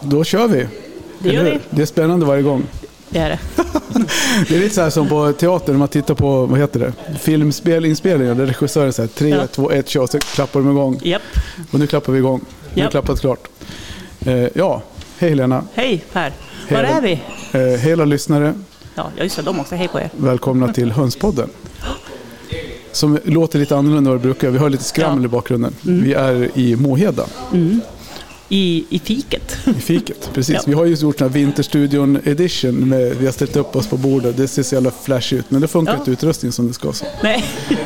Då kör vi. Det gör Eller hur? vi. Det är spännande varje gång. Det är det. Det är lite så här som på teater när man tittar på, vad heter det, filmspelinspelningar där regissören säger 3, Ja. 2, 1, kör, så klappar de igång. Japp. Och nu klappar vi igång. Nu har Ja. klappat klart. Eh, ja, hej Helena. Hej Per! Var Hej. är vi? Eh, hej alla lyssnare. Ja, just det, de också. Hej på er. Välkomna till Hönspodden. Som låter lite annorlunda än vad det brukar. Vi hör lite skrammel Ja. Mm. i bakgrunden. Vi är i Måheda, I, i fiket. i fiket. Precis. Ja. Vi har ju gjort den här Vinterstudion edition. Med, vi har ställt upp oss på bordet. Det ser så jävla flash ut. Men det funkar Ja. inte utrustning som det ska. Så. Nej, ja,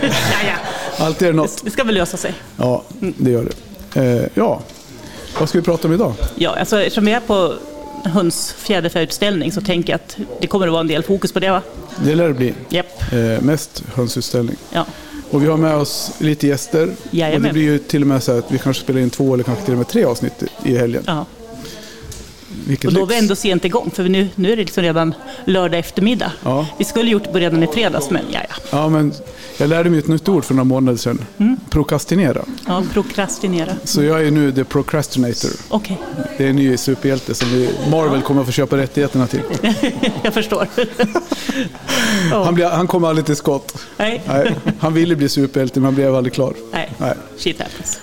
ja. Alltid är det något. Det ska väl lösa sig. Ja, det gör det. Eh, ja, vad ska vi prata om idag? Ja, alltså, eftersom vi är på höns fjäderfäutställning så tänker jag att det kommer att vara en del fokus på det va? Det lär det bli. Japp. Eh, mest hönsutställning. Ja. Och vi har med oss lite gäster. Jajamän. Och det blir ju till och med så här att vi kanske spelar in två eller kanske till och med tre avsnitt i- i helgen. ja. Vilket Och då är vi lyx. ändå sent igång för nu, nu är det liksom redan lördag eftermiddag. Ja. Vi skulle gjort det redan i fredags men ja, ja. Ja, men jag lärde mig ett nytt ord för några månader sedan. Mm. Prokrastinera. ja prokrastinera. Så jag är nu the procrastinator. Okej, Det är en ny superhjälte som vi, Marvel kommer att få köpa rättigheterna till. jag förstår. Han, blir, han kommer aldrig till skott. Nej. Nej, han ville bli superhjälte men han blev aldrig klar. Nej. Nej. Shit happens.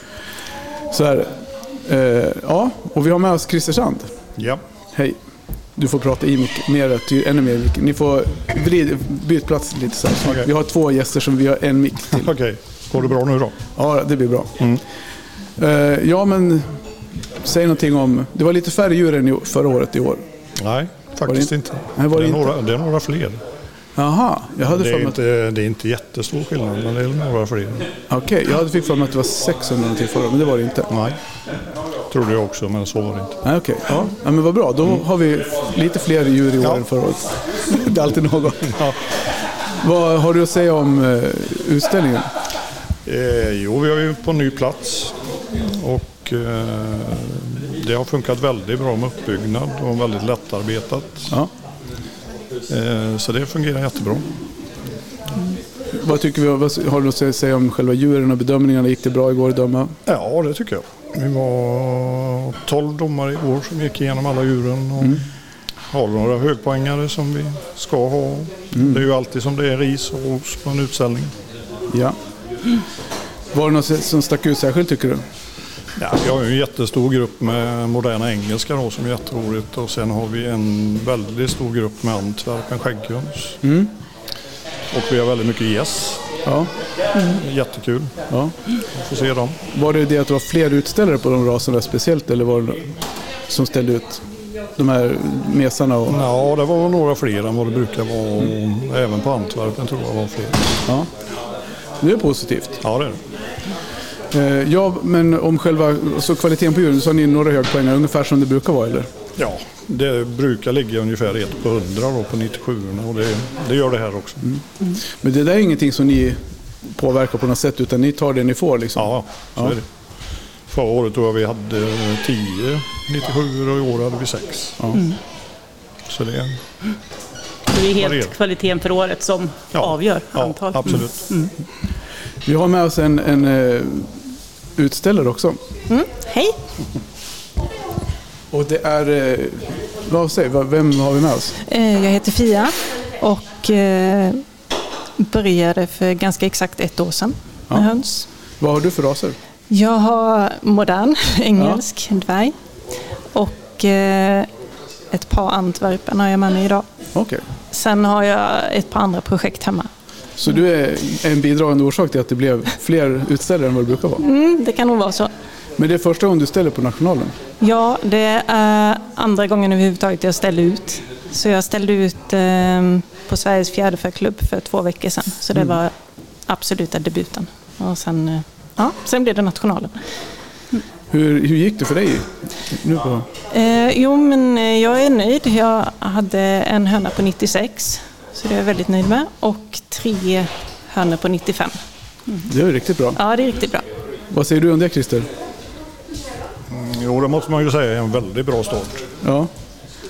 Så är det. Eh, ja, och vi har med oss Christer Sand. Ja. Hej. Du får prata i mycket, mer, ty, ännu mer. i micken. Ni får vrid, byt plats lite så här. Okej. Vi har två gäster som vi har en mick till. Okej, Mm. går det bra nu då? Ja, det blir bra. Eh, ja, men säg någonting om... Det var lite färre djur än i- förra året i år. Nej, faktiskt det- inte. Nej, var det det, är inte? några, det är några fler. Jaha, jag hade Det för är, mig att... inte, det är inte jättestor skillnad, men det är några fler. Okej, jag hade fick för mig att det var 600 någonting förra året, men det var det inte. Nej, trodde jag också, men så var det inte. Nej, okej. Ja. ja, men vad bra. Då har vi lite fler djur i år Ja. än förra året. Det är alltid något. Vad har du att säga om eh, utställningen? Eh, jo, vi är ju på en ny plats och eh, det har funkat väldigt bra med uppbyggnad och väldigt lättarbetat. Ja. Eh, så det fungerar jättebra. Vad tycker vi, vad har du att säga om själva djuren och bedömningarna? Gick det bra igår att döma? Ja, det tycker jag. Vi var 12 domare igår som gick igenom alla djuren. Och Har några högpoängare som vi ska ha. Det är ju alltid som det är ris och ost på en utställning. Ja. Var det något som stack ut särskilt tycker du? Ja, vi har ju en jättestor grupp med moderna engelska då, som är jätteroligt. Och sen har vi en väldigt stor grupp med antwerpen skägghöns. Och vi har väldigt mycket gäss. Ja. Jättekul. ja. Får se dem. Var det det att det var fler utställare på de raserna speciellt eller var det som ställde ut de här mesarna? Och, Ja, det var några fler än vad det brukar vara. och Även på antwerpen tror jag var fler. ja. Det är positivt. Ja, det är det. Eh, ja, men om själva så kvaliteten på djuren, så har ni några högpoängare, ungefär som det brukar vara eller? Ja, det brukar ligga ungefär 1 på 100 då på 97 och det, det gör det här också. Mm. Men det där är ingenting som ni påverkar på något sätt utan ni tar det ni får liksom? Ja, så Ja. är det. Förra året tror jag vi hade 10 97 och i år hade vi 6. Ja. Mm. Så Så det, det är Vad det helt är. kvaliteten för året som ja. avgör ja, antal. Mm. Absolut. Vi har med oss en, en eh, utställare också. Hej! Och det är... eh, Vad säger, vad- vem har vi med oss? Eh, Jag heter Fia och eh, började för ganska exakt ett år sedan med Ja. höns. Vad har du för raser? Jag har modern engelsk dvärg och eh, ett par antwerpen har jag med mig idag. Okej. Sen har jag ett par andra projekt hemma. Så du är en bidragande orsak till att det blev fler utställare än vad det brukar vara. Mm, det kan nog vara så. Men det är första gången du ställer på Nationalen. Ja, det är andra gången överhuvudtaget jag ställer ut. Så jag ställde ut eh, på Sveriges fjäderfäklubb för två veckor sedan. Så det var absoluta debuten. Och sen, eh, ja, sen blev det nationalen. Hur, hur gick det för dig? Nu på, Eh, jo, men eh, jag är nöjd. Jag hade en höna på 96, så det är jag väldigt nöjd med. Och tre hönor på 95. det var riktigt bra. Ja, det är riktigt bra. Vad säger du om det Christer? Mm. Jo, det måste man ju säga är en väldigt bra start. Ja.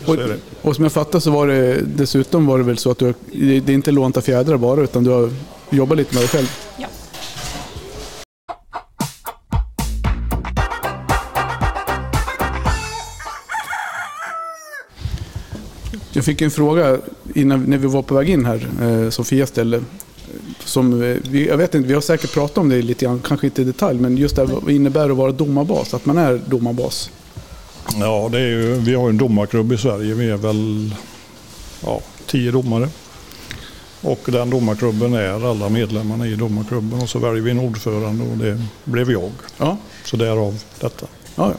Så Och, är det. och som jag fattar så var det dessutom var det väl så att du, har- det är inte lånta fjädrar bara utan du har jobbat lite med dig själv. Jag fick en fråga innan, när vi var på väg in här, eh, Sofia ställde. Som, eh, vi, jag vet inte, vi har säkert pratat om det lite grann, kanske inte i detalj, men just det här, vad innebär det att vara domarbas, att man är domarbas. Ja, det är ju, vi har ju en domarklubb i Sverige. Vi är väl ja, tio domare. Och den domarklubben är alla medlemmarna i domarklubben och så väljer vi en ordförande och det blev jag. Ja, Så därav detta. ja.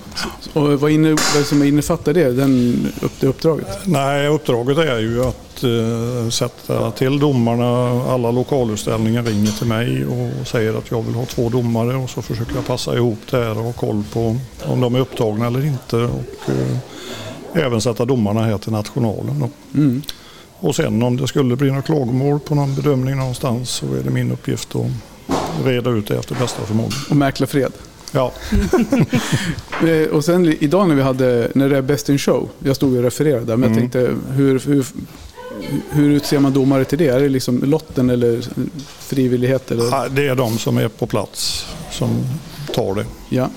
ja. Och vad, inne, vad som innefattar det, den, upp, det uppdraget? Nej, uppdraget är ju att eh, sätta till domarna. Alla lokalutställningar ringer till mig och säger att jag vill ha två domare och så försöker jag passa ihop det här och ha koll på om de är upptagna eller inte. Och eh, även sätta domarna här till nationalen. Då. Mm. Och sen om det skulle bli några klagomål på någon bedömning någonstans så är det min uppgift att reda ut det efter bästa förmåga. Och mäklarfred. Ja, Eh, Och sen idag när vi hade, när det är Best in Show, jag stod och refererade där, Mm. men jag tänkte hur, hur, hur utser man domare till det? Är det liksom lotten eller frivillighet? Eller? nej, det är de som är på plats som tar det. Ja.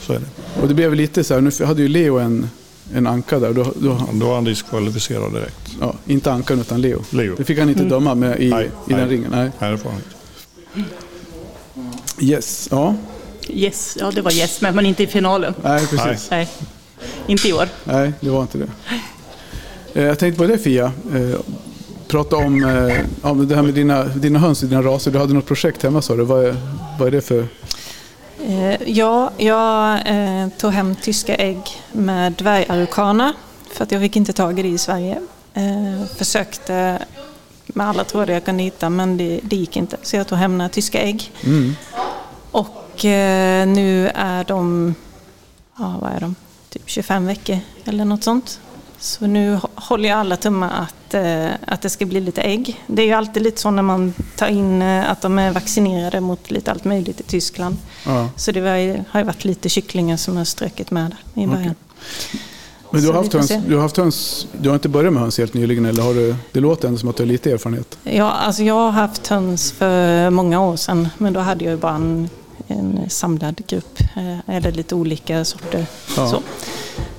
Så är det. Och det blev lite så här, nu hade ju Leo en, en anka där. och Då, då, Då är han diskvalificerad direkt. ja, inte ankan utan Leo. Leo. Det fick han inte döma med i, Nej, i den nej. ringen. Nej. Nej, det får han inte. Yes, ja. Mm. Yes, ja det var yes, men, men inte i finalen. Nej, precis. Nej, inte i år. Nej. det var inte det. Eh, Jag tänkte på det Fia. Eh, Prata om, eh, om det här med dina, dina höns och dina raser. Du hade något projekt hemma sa du. Vad är, vad är det för... Eh, Ja, jag eh, tog hem tyska ägg med dvärgarukana för att jag fick inte tag i det i Sverige. Eh, försökte med alla trådar jag kunde hitta men det, det gick inte så jag tog hem några tyska ägg. Och eh, nu är de, ja vad är de, typ 25 veckor eller något sånt. Så nu hå- håller jag alla tummar att, eh, att det ska bli lite ägg. Det är ju alltid lite så när man tar in eh, att de är vaccinerade mot lite allt möjligt i Tyskland. Ja. Så det var, ju- har ju varit lite kycklingar som har strökit med där i början. Men du har, Så vi haft får höns, se. du har haft höns, du har inte börjat med höns helt nyligen eller har du, det låter ändå som att du har lite erfarenhet. Ja, alltså jag har haft höns för många år sedan men då hade jag ju bara en, en samlad grupp eh, eller lite olika sorter. Ja. Så.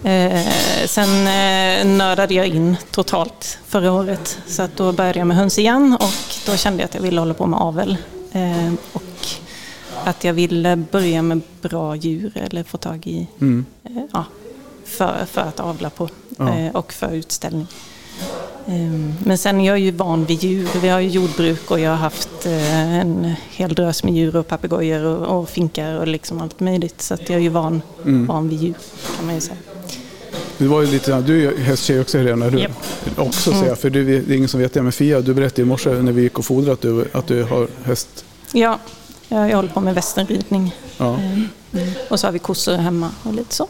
Eh, sen eh, nördade jag in totalt förra året så att då började jag med höns igen och då kände jag att jag ville hålla på med avel. Eh, och att jag ville börja med bra djur eller få tag i eh, ja, för, för att avla på Mm. Ja. eh, och för utställning. Ehm, Men sen är jag ju van vid djur. Vi har ju jordbruk och jag har haft eh, en hel drös med djur och papegojor och, och finkar och liksom allt möjligt. Så att jag är ju van, van vid djur kan man ju säga. Det var ju lite, grann- du är ju hästtjej också Helena, eller hur? Japp. Också säger Mm. jag, för du, det är ingen som vet det, men Fia, du berättade i morse när vi gick och fodrade att du, att du har häst. Ja, jag, jag håller på med västernridning. Ja. Mm. Och så har vi kossor hemma och lite så.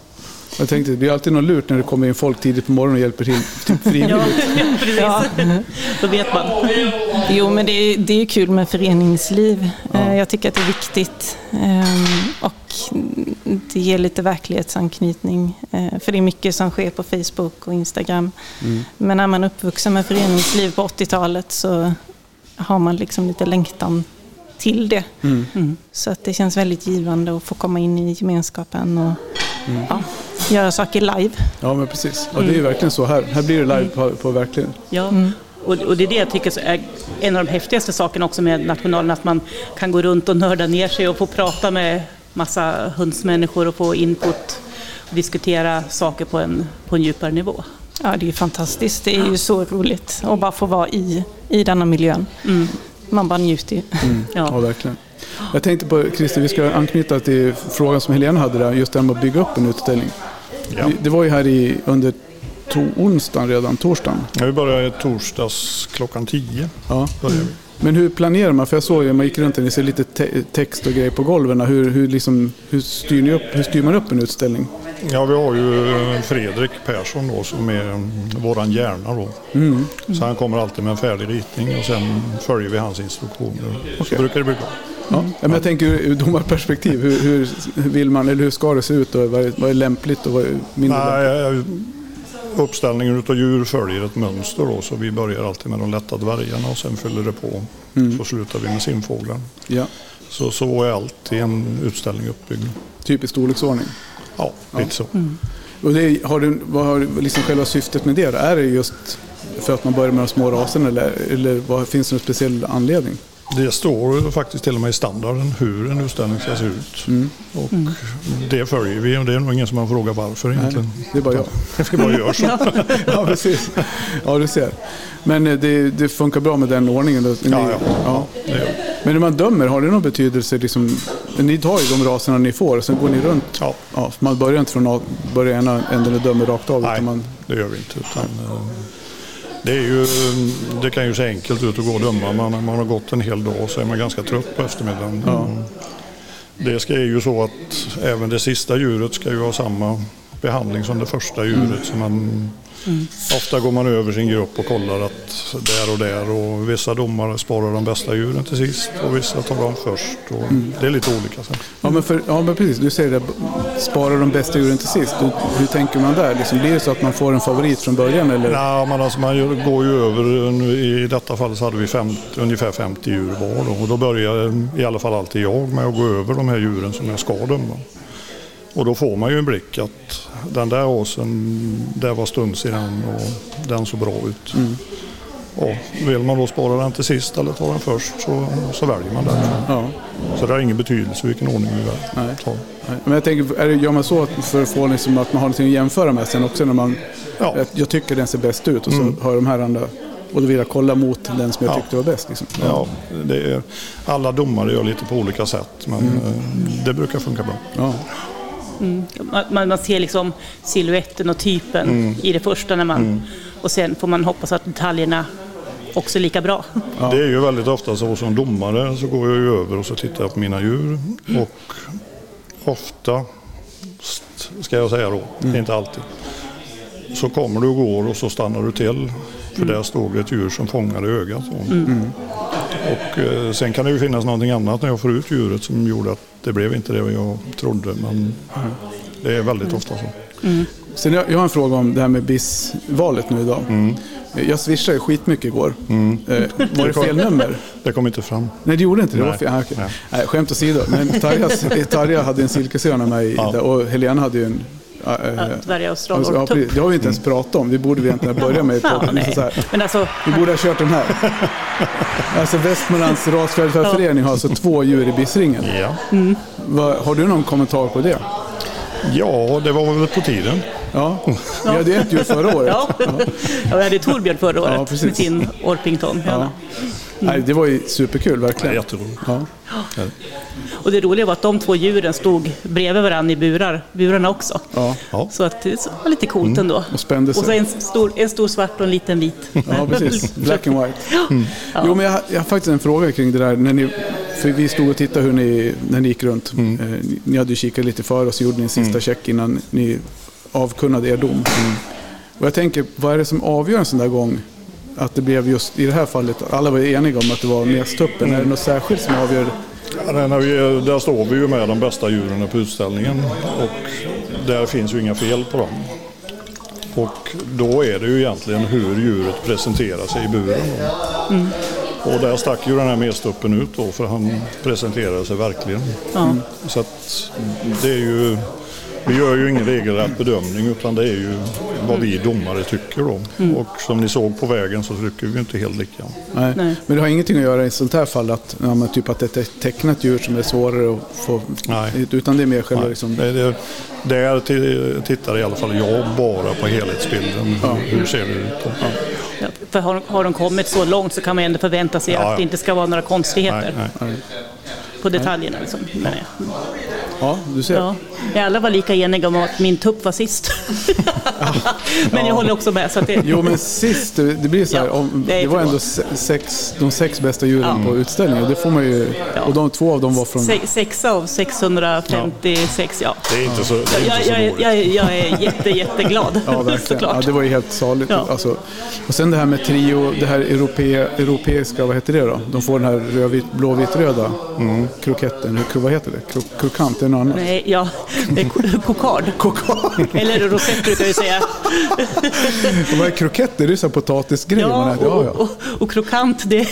Jag tänkte, det är alltid något lurt när det kommer in folk tidigt på morgonen och hjälper till, typ Ja, frivilligt. precis. Då vet man. Jo, men det är, det är kul med föreningsliv. Eh, Jag tycker att det är viktigt. Ehm, Och det ger lite verklighetsanknytning. Eh, För det är mycket som sker på Facebook och Instagram. Men är man uppvuxen med föreningsliv på 80-talet så har man liksom lite längtan till det. Så att det känns väldigt givande att få komma in i gemenskapen och ja, göra saker live. Ja, men precis. Ja, det är ju verkligen så här. Här blir det live på, på verkligen. Ja. Mm. Och, och det är det jag tycker så är en av de häftigaste sakerna också med nationalen, att man kan gå runt och nörda ner sig och få prata med massa hundsmänniskor och få input och diskutera saker på en, på en djupare nivå. Ja, det är ju fantastiskt. Det är ju så roligt att bara få vara i, i denna miljön. Man bara njuter ju. Ja, Mm. Ja. verkligen. Jag tänkte på, Christer, vi ska anknyta till frågan som Helena hade där, just det här med att bygga upp en utställning. Ja. Vi- Det var ju här i, under to- onsdagen redan, torsdagen. Ja, Vi börjar i torsdags klockan 10. Ja. Börjar vi. Men hur planerar man? För jag såg ju, man gick runt där, ni ser lite te- text och grejer på golven. Hur, hur, liksom, hur, styr ni upp, hur styr man upp en utställning? Ja, vi har ju eh, Fredrik Persson då som är mm, våran hjärna då. Så han kommer alltid med en färdig ritning och sen följer vi hans instruktioner. Så Okej. brukar det bli bra. Ja. Men jag tänker ur ur domarperspektiv, hur, hur vill man, eller hur ska det se ut? Och vad, är, vad är lämpligt och vad är mindre lämpligt? Nej, eh, uppställningen utav djur följer ett mönster då så vi börjar alltid med de lätta dvärgarna och sen fyller det på. Så slutar vi med simfågeln. Ja. Så, så är alltid en utställning uppbyggd. Typ i storleksordning. Ja, lite så. Och det, har du, vad har du- liksom själva syftet med det? då? Är det just för att man börjar med de små raserna eller, eller vad, finns det någon speciell anledning? Det står faktiskt till och med i standarden hur en utställning ska se ut. Mm. Och det följer vi och det är nog ingen som har frågat varför egentligen. det är bara jag. Det bara görs. ja, precis. Ja, du ser. Men eh, det, det funkar bra med den ordningen? Då. Ni- ja. Det gör vi. Men när man dömer, har det någon betydelse? Liksom, ni tar ju de raserna ni får och sen går ni runt. Ja. Ja, för man börjar inte från a- börjar ena änden och dömer rakt av. Nej, Utan man, det gör vi inte. Utan, eh, det, är ju, eh, det kan ju se enkelt ut att gå och döma. Man, man har gått en hel dag och så är man ganska trött på eftermiddagen. Mm. Det ska är ju så att även det sista djuret ska ju ha samma behandling som det första djuret. Så man, Ofta går man över sin grupp och kollar att där och där och vissa domare sparar de bästa djuren till sist och vissa tar dem först. Och Det är lite olika. Sen. ja, men för, ja, men precis. Du säger det, b- spara de bästa djuren till sist. Hur, hur tänker man där? Liksom, blir det så att man får en favorit från början? Eller? Nej, men alltså man gör- går ju över. Nu, I detta fall så hade vi fem, ungefär 50 djur var. Då, och då börjar i alla fall alltid jag med att gå över de här djuren som jag ska döma. Och då får man ju en blick att den där åsen, där var stuns i den och den såg bra ut. Och vill man då spara den till sist eller ta den först så, så väljer man den. Ja. Så det har ingen betydelse vilken ordning vi väl- Nej. tar. Nej, Men jag tänker, är det, gör man så att- för att få liksom, att man har någonting att jämföra med sen också? När man, Ja. Mm. jag, jag tycker den ser bäst ut och så har jag de här andra. Och då vill jag kolla mot den som jag Ja. tyckte var bäst. Liksom. Ja, det är, alla domare gör lite på olika sätt men eh, det brukar funka bra. Ja. Man- Man, man ser liksom siluetten och typen Mm. i det första när man... Och sen får man hoppas att detaljerna också är lika bra. Det är ju väldigt ofta så som domare så går jag ju över och så tittar jag på mina djur. Och ofta, ska jag säga då, inte alltid, så kommer du och går och så stannar du till. För där stod det ett djur som fångade ögat. då. Och eh, sen kan det ju finnas någonting annat när jag får ut djuret som gjorde att det blev inte det jag trodde. Men det är väldigt ofta så. Sen jag, jag har en fråga om det här med BIS-valet nu idag. Mm. Jag swishade ju skitmycket igår. Eh, var det fel nummer? Det kom inte fram. Nej, det gjorde inte det. det var Nej. fel. Ah, okej. Nej. Nej, skämt åsido, men Tarjas, Tarja hade en silkesöna med i Ja. det och Helena hade ju en... Äh, Dvärgar och alltså, ja, strålor. precis. det har vi inte ens pratat om. Det borde vi egentligen börja med. i Ja, podden. nej. Så här. Men alltså, Vi borde ha kört den här. Alltså Västmanlands rasvälfärdsförening har alltså två djur i bissringen. Ja. Vad- Har du någon kommentar på det? ja, det var väl på tiden. Ja, vi hade ju ett djur förra året. ja. ja, vi hade Torbjörn förra året Ja, precis. med sin Orpington. Ja. Nej, det var ju superkul verkligen. Jätteroligt. Ja. Och det roliga var att de två djuren stod bredvid varandra i burar, burarna också. Ja. Ja. Så att det var lite coolt ändå. Mm. Och spände sig. Och så en stor, en stor svart och en liten vit. Ja, precis. Black and white. Mm. Ja. Jo, men jag, jag har faktiskt en fråga kring det där. När ni, för vi stod och tittade hur ni, när ni gick runt. Mm. Eh, ni- ni hade ju kikat lite för och så gjorde ni en sista check innan ni avkunnade er dom. Mm. Och jag tänker, vad är det som avgör en sån där gång? Att det blev just i det här fallet, alla var ju eniga om att det var nästuppen. Är Mm. det något särskilt som avgör? Ja, nej, när vi, där står vi ju med de bästa djuren på utställningen och där finns ju inga fel på dem. Och då är det ju egentligen hur djuret presenterar sig i buren. då. Och där stack ju den här medstuppen ut då för han presenterade sig verkligen. Ja. Så att det är ju, vi gör ju ingen regelrätt bedömning utan det är ju vad vi domare tycker då. Och som ni såg på vägen så tycker vi inte helt lika. Nej. Nej. Men det har ingenting att göra i ett sånt här fall att, ja, men typ att det är ett tecknat djur som är svårare att få... Nej. Utan det är mer själva Nej, liksom... det, det, där ti- tittar i alla fall jag bara på helhetsbilden. Hur ser det ut? Och, Ja, För har, de- har de kommit så långt så kan man ju ändå förvänta sig Ja, ja. att det inte ska vara några konstigheter Nej, nej. på detaljerna. Liksom. Men, ja. Ja, du ser. Ja. Men alla var lika eniga om att min tupp var sist. Men jag håller också med. Så att det, Jo men sist, det det blir så här, Ja, om, det är det var förlåt. ändå se- sex, de sex bästa djuren på utställningen. Det får man ju, Ja. och de två av dem var från... se, sexa av 656, ja. Det är inte så, det är inte Jag, så jag, dåligt. är- jag, är- jag är jätte, jätteglad, Ja, verkligen. såklart. Ja, det var ju helt saligt. Ja. Alltså, och sen det här med trio, det här europe, europeiska, vad heter det då? De får den här rödvit, blåvitröda kroketten, Hur- vad heter det? Kro, krokant, det är något annat. Nej, ja, det är ko- kokard. Kokard! Eller rosett brukar jag ju säga. Och vad är kroketter? Det är så här potatisgrejer man Ja, äter. Ja, och, ja. och, och krokant, det är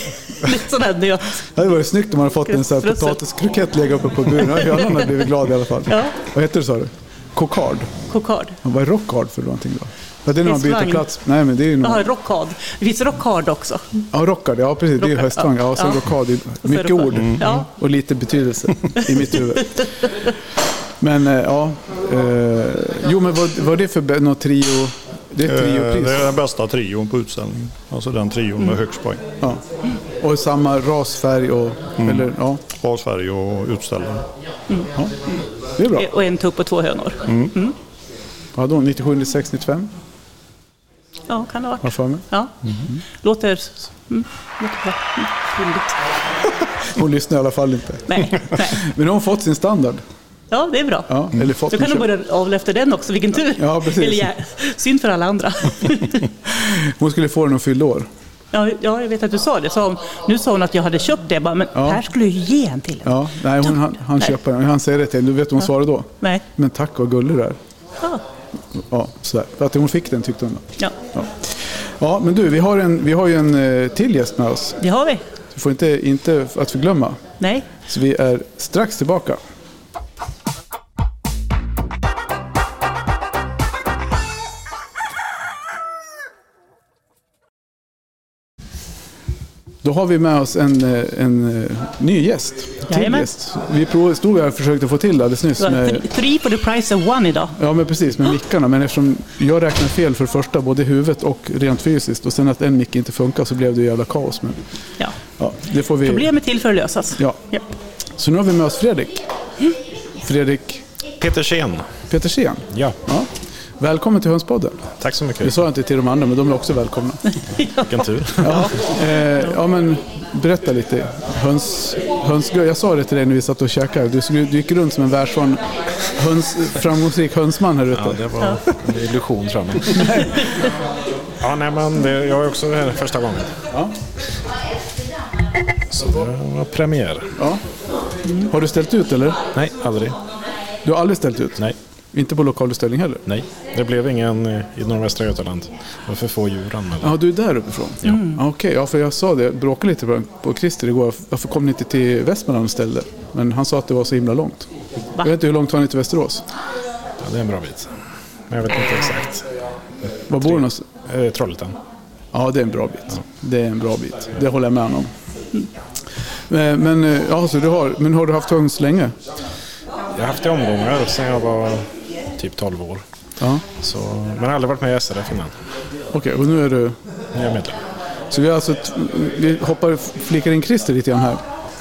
lite sån här nöt. Det hade varit snyggt om man hade fått en sån här Strössel. potatiskrokett lägga uppe på buren. Hönan hade blivit glad i alla fall. Ja. Vad heter det sa du? Cockard. Kokard. Vad är rockard för någonting då? Ja, det är när man byter Hästvagn. plats. Nej, men det är ju någon... Jaha, rockad. Det finns rockard också. Ja, rockard. Ja, precis. Det är ju Rockard, hästvagn. Ja, ja. sen Ja. rockad. det är så Mycket rockad. ord Mm. Ja. och lite betydelse i mitt huvud. Men eh, ja. Eh, jo, men vad, vad är det för be- något trio? Mm. Det är ett Eh, triopris. Det är den bästa trion på utställningen. Alltså den trion med högst poäng. Ja. Och samma rasfärg och... Mm. Eller, ja. Av Sverige och utställaren. ja. Det är bra. Och en tupp och två hönor. Mm. Ja, då, 97, 96, 95 Ja, kan det ha har jag varit. för mig. Ja. Låter... Mm. Låter bra. Mm. Rimligt. Hon lyssnar i alla fall inte. Nej, nej. Men nu har hon fått sin standard. Ja, det är bra. Ja, Mm. eller fått Så kan sin du köp. börja avla efter den också, vilken tur. Ja, precis. Eller, ja, synd för alla andra. Hon skulle få den och fyllde år. Ja, ja, jag vet att du sa det. Sa hon, nu sa hon att jag hade köpt det. Jag bara, men Ja. här skulle jag ju ge en till. Ja, nej, hon, han, han Nej. köper den. Han säger det till henne. Du vet vad hon svarade då? Nej. Men tack vad gullig du är. Ja. Ja, sådär. För att hon fick den tyckte hon. Då. ja, Ja. ja, men du, vi har, en, vi har ju en eh, till gäst med oss. det har vi. Du får inte, inte att förglömma. Nej. Så vi är strax tillbaka. Då har vi med oss en, eh, en eh, ny gäst. Till Jajamän. gäst. Vi prov- stod här och försökte få till det alldeles nyss. Så, Med, th- Three for the price of one idag. ja, men precis, med mickarna. Men eftersom jag räknade fel för det första, både i huvudet och rent fysiskt. Och sen att en mick inte funkar så blev det ju jävla kaos. Men, Ja. ja, det får vi... Problem är till för att lösas. Ja. Ja. Så nu har vi med oss Fredrik. Fredrik Peter Sen. Petersen. Ja, Ja. Välkommen till Hönspodden. tack så Det mycket. sa jag inte till de andra, men de är också välkomna. Vilken tur. Ja, eh, ja men berätta lite. Höns, hönsgö, jag sa det till dig när vi satt och käkade. Du, skulle- du gick runt som en världsvan höns, framgångsrik hönsman här Ja, ute. det var en illusion tror jag. men- Ja, nej, men det, jag är också här första gången. Ja. Så det var premiär. Ja. Har du ställt ut eller? Nej, aldrig. Du har aldrig ställt ut? Nej, Inte på lokalutställning heller? nej. Det blev ingen eh, i nordvästra Götaland. Det var för få djur anmälda. Ja, du är där uppifrån? Mm. Ja. Okej, ja, för jag sa det, jag bråkade lite på- på Christer igår. Varför kom ni inte till Västmanland och ställde? Men han sa att det var så himla långt. Jag vet inte hur långt var ni till Västerås? Ja, det är en bra bit. Men jag vet inte exakt. Var bor ni någonstans? Eh, Trollhättan. Ja, Mm. det är en bra bit. Det är en bra bit. Det håller jag med om. Eh, Men, eh, ja, så du har, men har du haft höns länge? Jag har haft det i omgångar sedan jag var typ 12 år. Ja. Så, men jag har aldrig varit med i SRF innan. Okej, och nu är du... Nu är jag medlem. Så vi har alltså... T- vi hoppar, flikar in Christer lite grann här.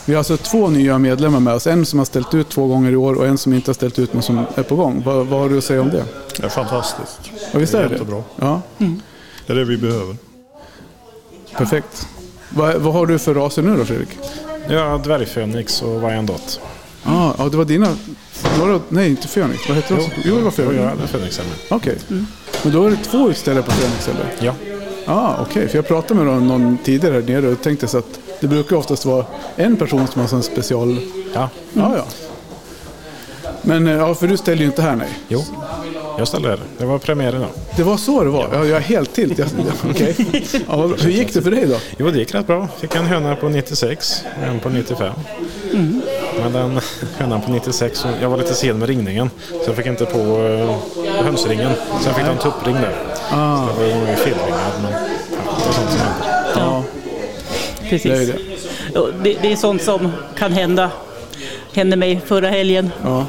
Vi har alltså två nya medlemmar med oss. En som har ställt ut två gånger i år och en som inte har ställt ut men som är på gång. Vad, vad har du att säga om det? Det är fantastiskt. Ja, visst är det jättebra. Ja, Det är det vi behöver. perfekt. Vad, vad har du för raser nu då Fredrik? Nu har jag dvärgfönix och Vajandot. Ah, ja, det var dina... Några, nej, inte Fönix. Vad heter de? Jo, det var Och jag Fönix. hade fönixen med. Okej. Men då är det två utställare på Fönix eller? Ja. Ja, ah, okej. För jag pratade med någon- någon tidigare här nere och tänkte så att det brukar oftast vara en person som har sån special... ja. Ja, ja. Men eh, ja, för du ställer ju inte här nej. Jo, jag ställer det. Det var premiären då. Det var så det var? Ja, jag är helt tilt. Jag, okej. ja, vad bra. hur gick det för dig då? Jo, det gick rätt bra. Fick en höna på 96 och en på 95. Mm. Men den hönan på 96, hon- jag var lite sen med ringningen. Så jag fick inte på uh, hönsringen. Så jag fick en tuppring där. Ah. Så det var ju felringad. Men ja, det är sånt som händer. Ja, Precis. det är ju det. Ja, det, det är sånt som kan hända. Hände mig förra helgen. Ja.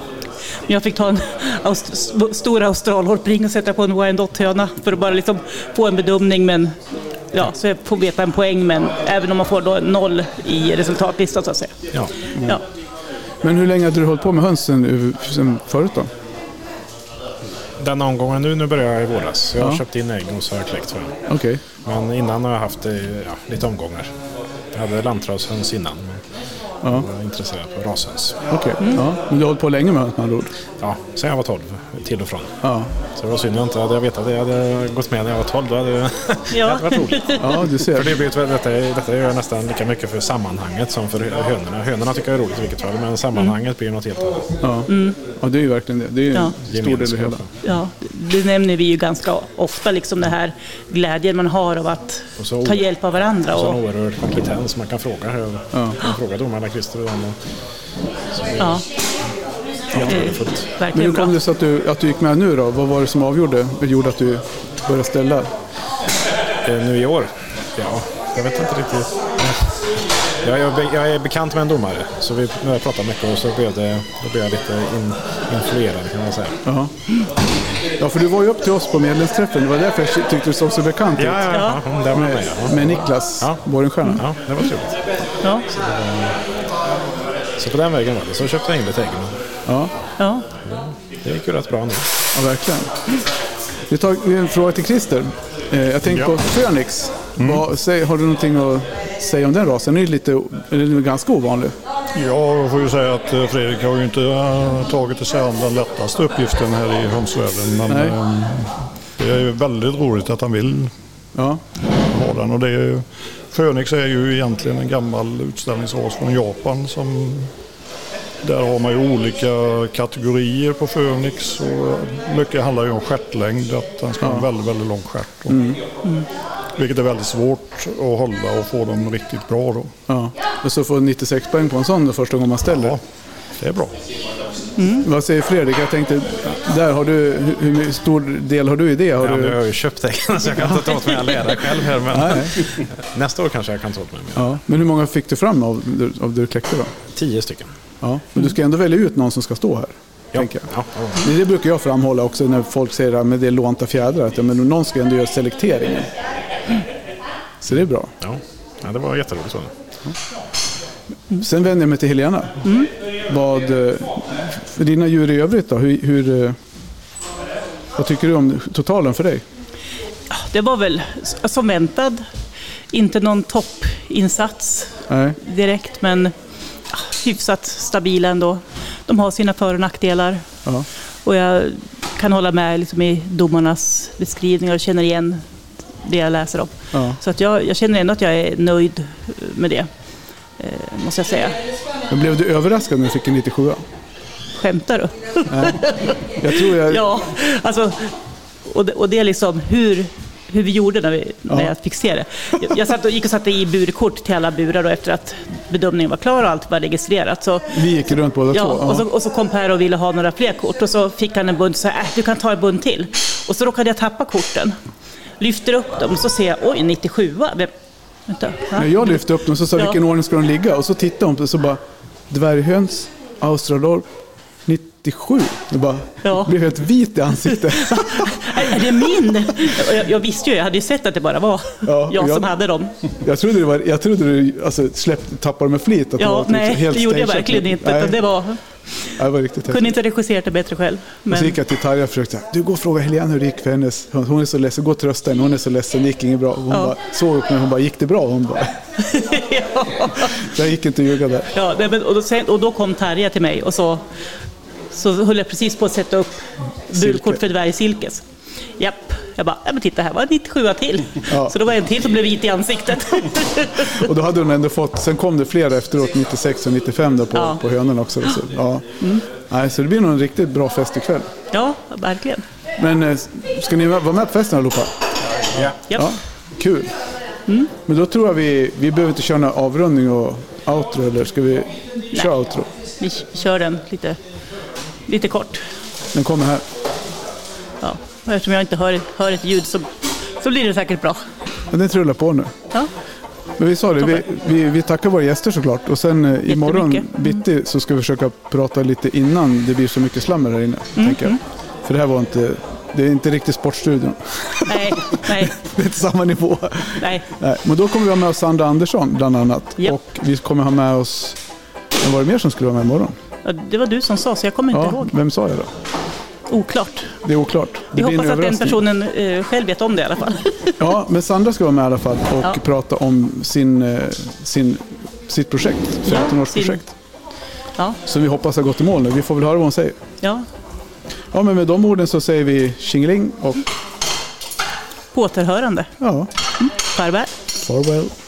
Men Jag fick ta en aust- st- stor australhorpring och sätta på en Wyandotte-höna för att bara liksom få en bedömning. Men, ja, så jag får veta en poäng, men även om man får då en noll i resultatlistan så att säga. Ja. Mm. Ja. Men hur länge hade du hållit på med hönsen eh, sen förut då? Den omgången nu, nu börjar jag i våras. Så jag har Ja. köpt in ägg och så har jag kläckt för den. Okej. Men innan har jag haft det i, ja, lite omgångar. Jag hade lantradshöns innan. Men Ja. Jag var intresserad av rashöns. Okej, Mm. ja. men du har hållit på länge med höns med andra ord? Ja, sen jag var 12, till och från. Ja. Så det var synd jag inte hade vetat det. Hade jag gått med när jag var 12 då hade det, det Ja. hade varit roligt. ja, du För ser. det blir, ju- detta, detta gör jag nästan lika mycket för sammanhanget som för hönorna. Hönorna tycker jag är roligt i vilket fall, men sammanhanget blir något helt annat. Ja. Mm. ja, det är ju verkligen det. Det är ju Ja. en stor del i det hela. Ja, det nämner vi ju ganska ofta, liksom den här glädjen man har av att Och så- ta hjälp av varandra. Så en Och, oerhörd kompetens man kan fråga. Jag kan fråga domarna Christer och dem. och- Så det, ja. Helt Eh, värdefullt. Men Verkligen hur bra. kom det sig att du, att du gick med nu då? Vad var det som avgjorde? gjorde att du började ställa? Eh, nu i år? Ja, jag vet inte riktigt. Jag, jag, är be- jag är bekant med en domare, så vi började prata mycket och så blev, det, då blev jag lite in, influerad kan man säga. Jaha. Ja, för du var ju upp till oss på medlemsträffen. Det var därför jag tyckte du såg så bekant ut. Ja, ja, ja. ja där var jag med. ja. Med Niklas Ja. Borgenstierna. Ja, det var trevligt. Ja, Så på den vägen var det. Så köpte jag in lite ägg. men Ja. ja. Det gick ju rätt bra nu. ja, verkligen. Vi tar vi har en fråga till Christer. Eh, jag tänkte på Phoenix. Mm. Vad, säg, har du någonting att säga om den rasen? Den är ju lite, den är ganska ovanlig. Ja, jag får ju säga att eh, Fredrik har ju inte eh, tagit till sig an den lättaste uppgiften här i hönsvärlden. Men Nej. eh, det är ju väldigt roligt att han vill Ja, ha den. Och det är ju, Phoenix är ju egentligen en gammal utställningsras från Japan. Som, där har man ju olika kategorier på Phoenix. Och mycket handlar ju om stjärtlängd, att den ska ha en väldigt, väldigt lång stjärt. Och, Vilket är väldigt svårt att hålla och få dem riktigt bra då. ja. Och så får 96 poäng på en sån den första gången man ställer. Ja, det är bra. Vad säger Fredrik? Jag tänkte, där har du, hur hur stor del har du i det? Har Ja, nu har du, jag ju köpt äggen så jag kan inte ta åt mig all ära själv här. Men Nej. nästa år kanske jag kan ta åt mig mer. ja. Men hur många fick du fram av, av det du kläckte då? Tio stycken. Ja. Men du ska ändå välja ut någon som ska stå här. Ja. Tänker jag. Ja, ja. Men Det brukar jag framhålla också när folk säger att det är lånta fjädrar. Att ja, men någon ska ändå göra selekteringen. Så det är bra. Ja. ja, det var jätteroligt. Så. Sen vänder jag mig till Helena. Vad, eh, för dina djur i övrigt då? Hur, hur, eh, vad tycker du om totalen för dig? Det var väl s- som väntat. Inte någon toppinsats Nej. direkt, men ah, hyfsat stabil ändå. De har sina för och nackdelar. Ja. Och jag kan hålla med liksom, i domarnas beskrivningar och känner igen det jag läser om. Ja. Så att jag, jag känner ändå att jag är nöjd med det, eh, måste jag säga. Men Blev du överraskad när du fick en 97 Skämtar du? Jag tror jag... Ja, alltså, och det, och det är liksom hur, hur vi gjorde när, vi, när jag fick se det. Jag, jag satt och, gick och satte i burkort till alla burar då, efter att bedömningen var klar och allt var registrerat. Så, Vi gick runt båda ja, två. och, så, och så kom Per och ville ha några fler kort och så fick han en bunt och sa äh, du kan ta en bunt till. Och så råkade jag tappa korten. Lyfter upp dem och så ser jag, oj, 97 Vem- Vänta, va? När jag lyfte upp dem så sa jag, Ja. vilken ordning ska de ligga? Och så tittade hon på det så bara dvärghöns, australorp, 97. Jag bara Ja. blev helt vit i ansiktet. Äh, Är, är det min? Och Jag, jag visste ju, jag hade ju sett att det bara var Ja, jag som jag- hade dem. jag trodde du, var, jag trodde du alltså, släppte, tappade med flit. Att Ja, var typ nej, det gjorde jag stageat. verkligen inte. Nej, utan Det var nej, det var riktigt Kunde häftigt. inte regisserat det bättre själv. Och Så Men, gick jag till Tarja och försökte, du går och fråga Helena hur det gick för hennes, hon, hon är så ledsen, gå och trösta henne, hon är så ledsen, det gick inget bra. Och Hon Ja. bara, såg upp mig, hon bara, gick det bra? Och Hon bara, ja, jag gick inte att ljuga där. ja, nej, men, och, då, sen, och då kom Tarja till mig och så, så höll jag precis på att sätta upp burkort för dvärgsilkes. Japp, jag bara, ja, men titta här var en 97 till. Ja. Så det var en till som blev vit i ansiktet. Och då hade hon ändå fått, sen kom det flera efteråt, 96 och 95 då på, Ja. på hönorna också. Så, ja. Nej, så det blir nog en riktigt bra fest ikväll. ja, verkligen. Men eh, ska ni vara med på festen allihopa? Japp. Ja, kul. Men då tror jag vi, vi behöver inte köra någon avrundning och outro, eller ska vi köra outro? Vi kör den lite, lite kort. Den kommer här. Ja. och Eftersom jag inte hör, hör ett ljud så, så blir det säkert bra. Ja, den trullar på nu. Ja. Men vi sa det, vi, vi, vi tackar våra gäster såklart. Och sen eh, imorgon Jättemycket. Mm. bitti så ska vi försöka prata lite innan det blir så mycket slammer här inne. Mm, Tänker jag. För det här var inte, det är inte riktigt Sportstudion. Nej, nej, Det är inte samma nivå. nej. Nej, men då kommer vi ha med oss Sandra Andersson bland annat. Japp. Och vi kommer ha med oss... Vem var det mer som skulle vara med imorgon? Ja, Det var du som sa så jag kommer inte Ja, ihåg. vem sa jag då? Oklart. Det är oklart. Det Vi blir en hoppas att den överraskning. personen eh, själv vet om det i alla fall. Ja, men Sandra ska vara med i alla fall och Ja. prata om sin, eh, sin, sitt projekt. Ja, 15-årsprojekt. Ja, Som vi hoppas har gått i mål nu. Vi får väl höra vad hon säger. ja. Ja, men med de orden så säger vi tjingeling och På återhörande. ja, Farväl. farewell.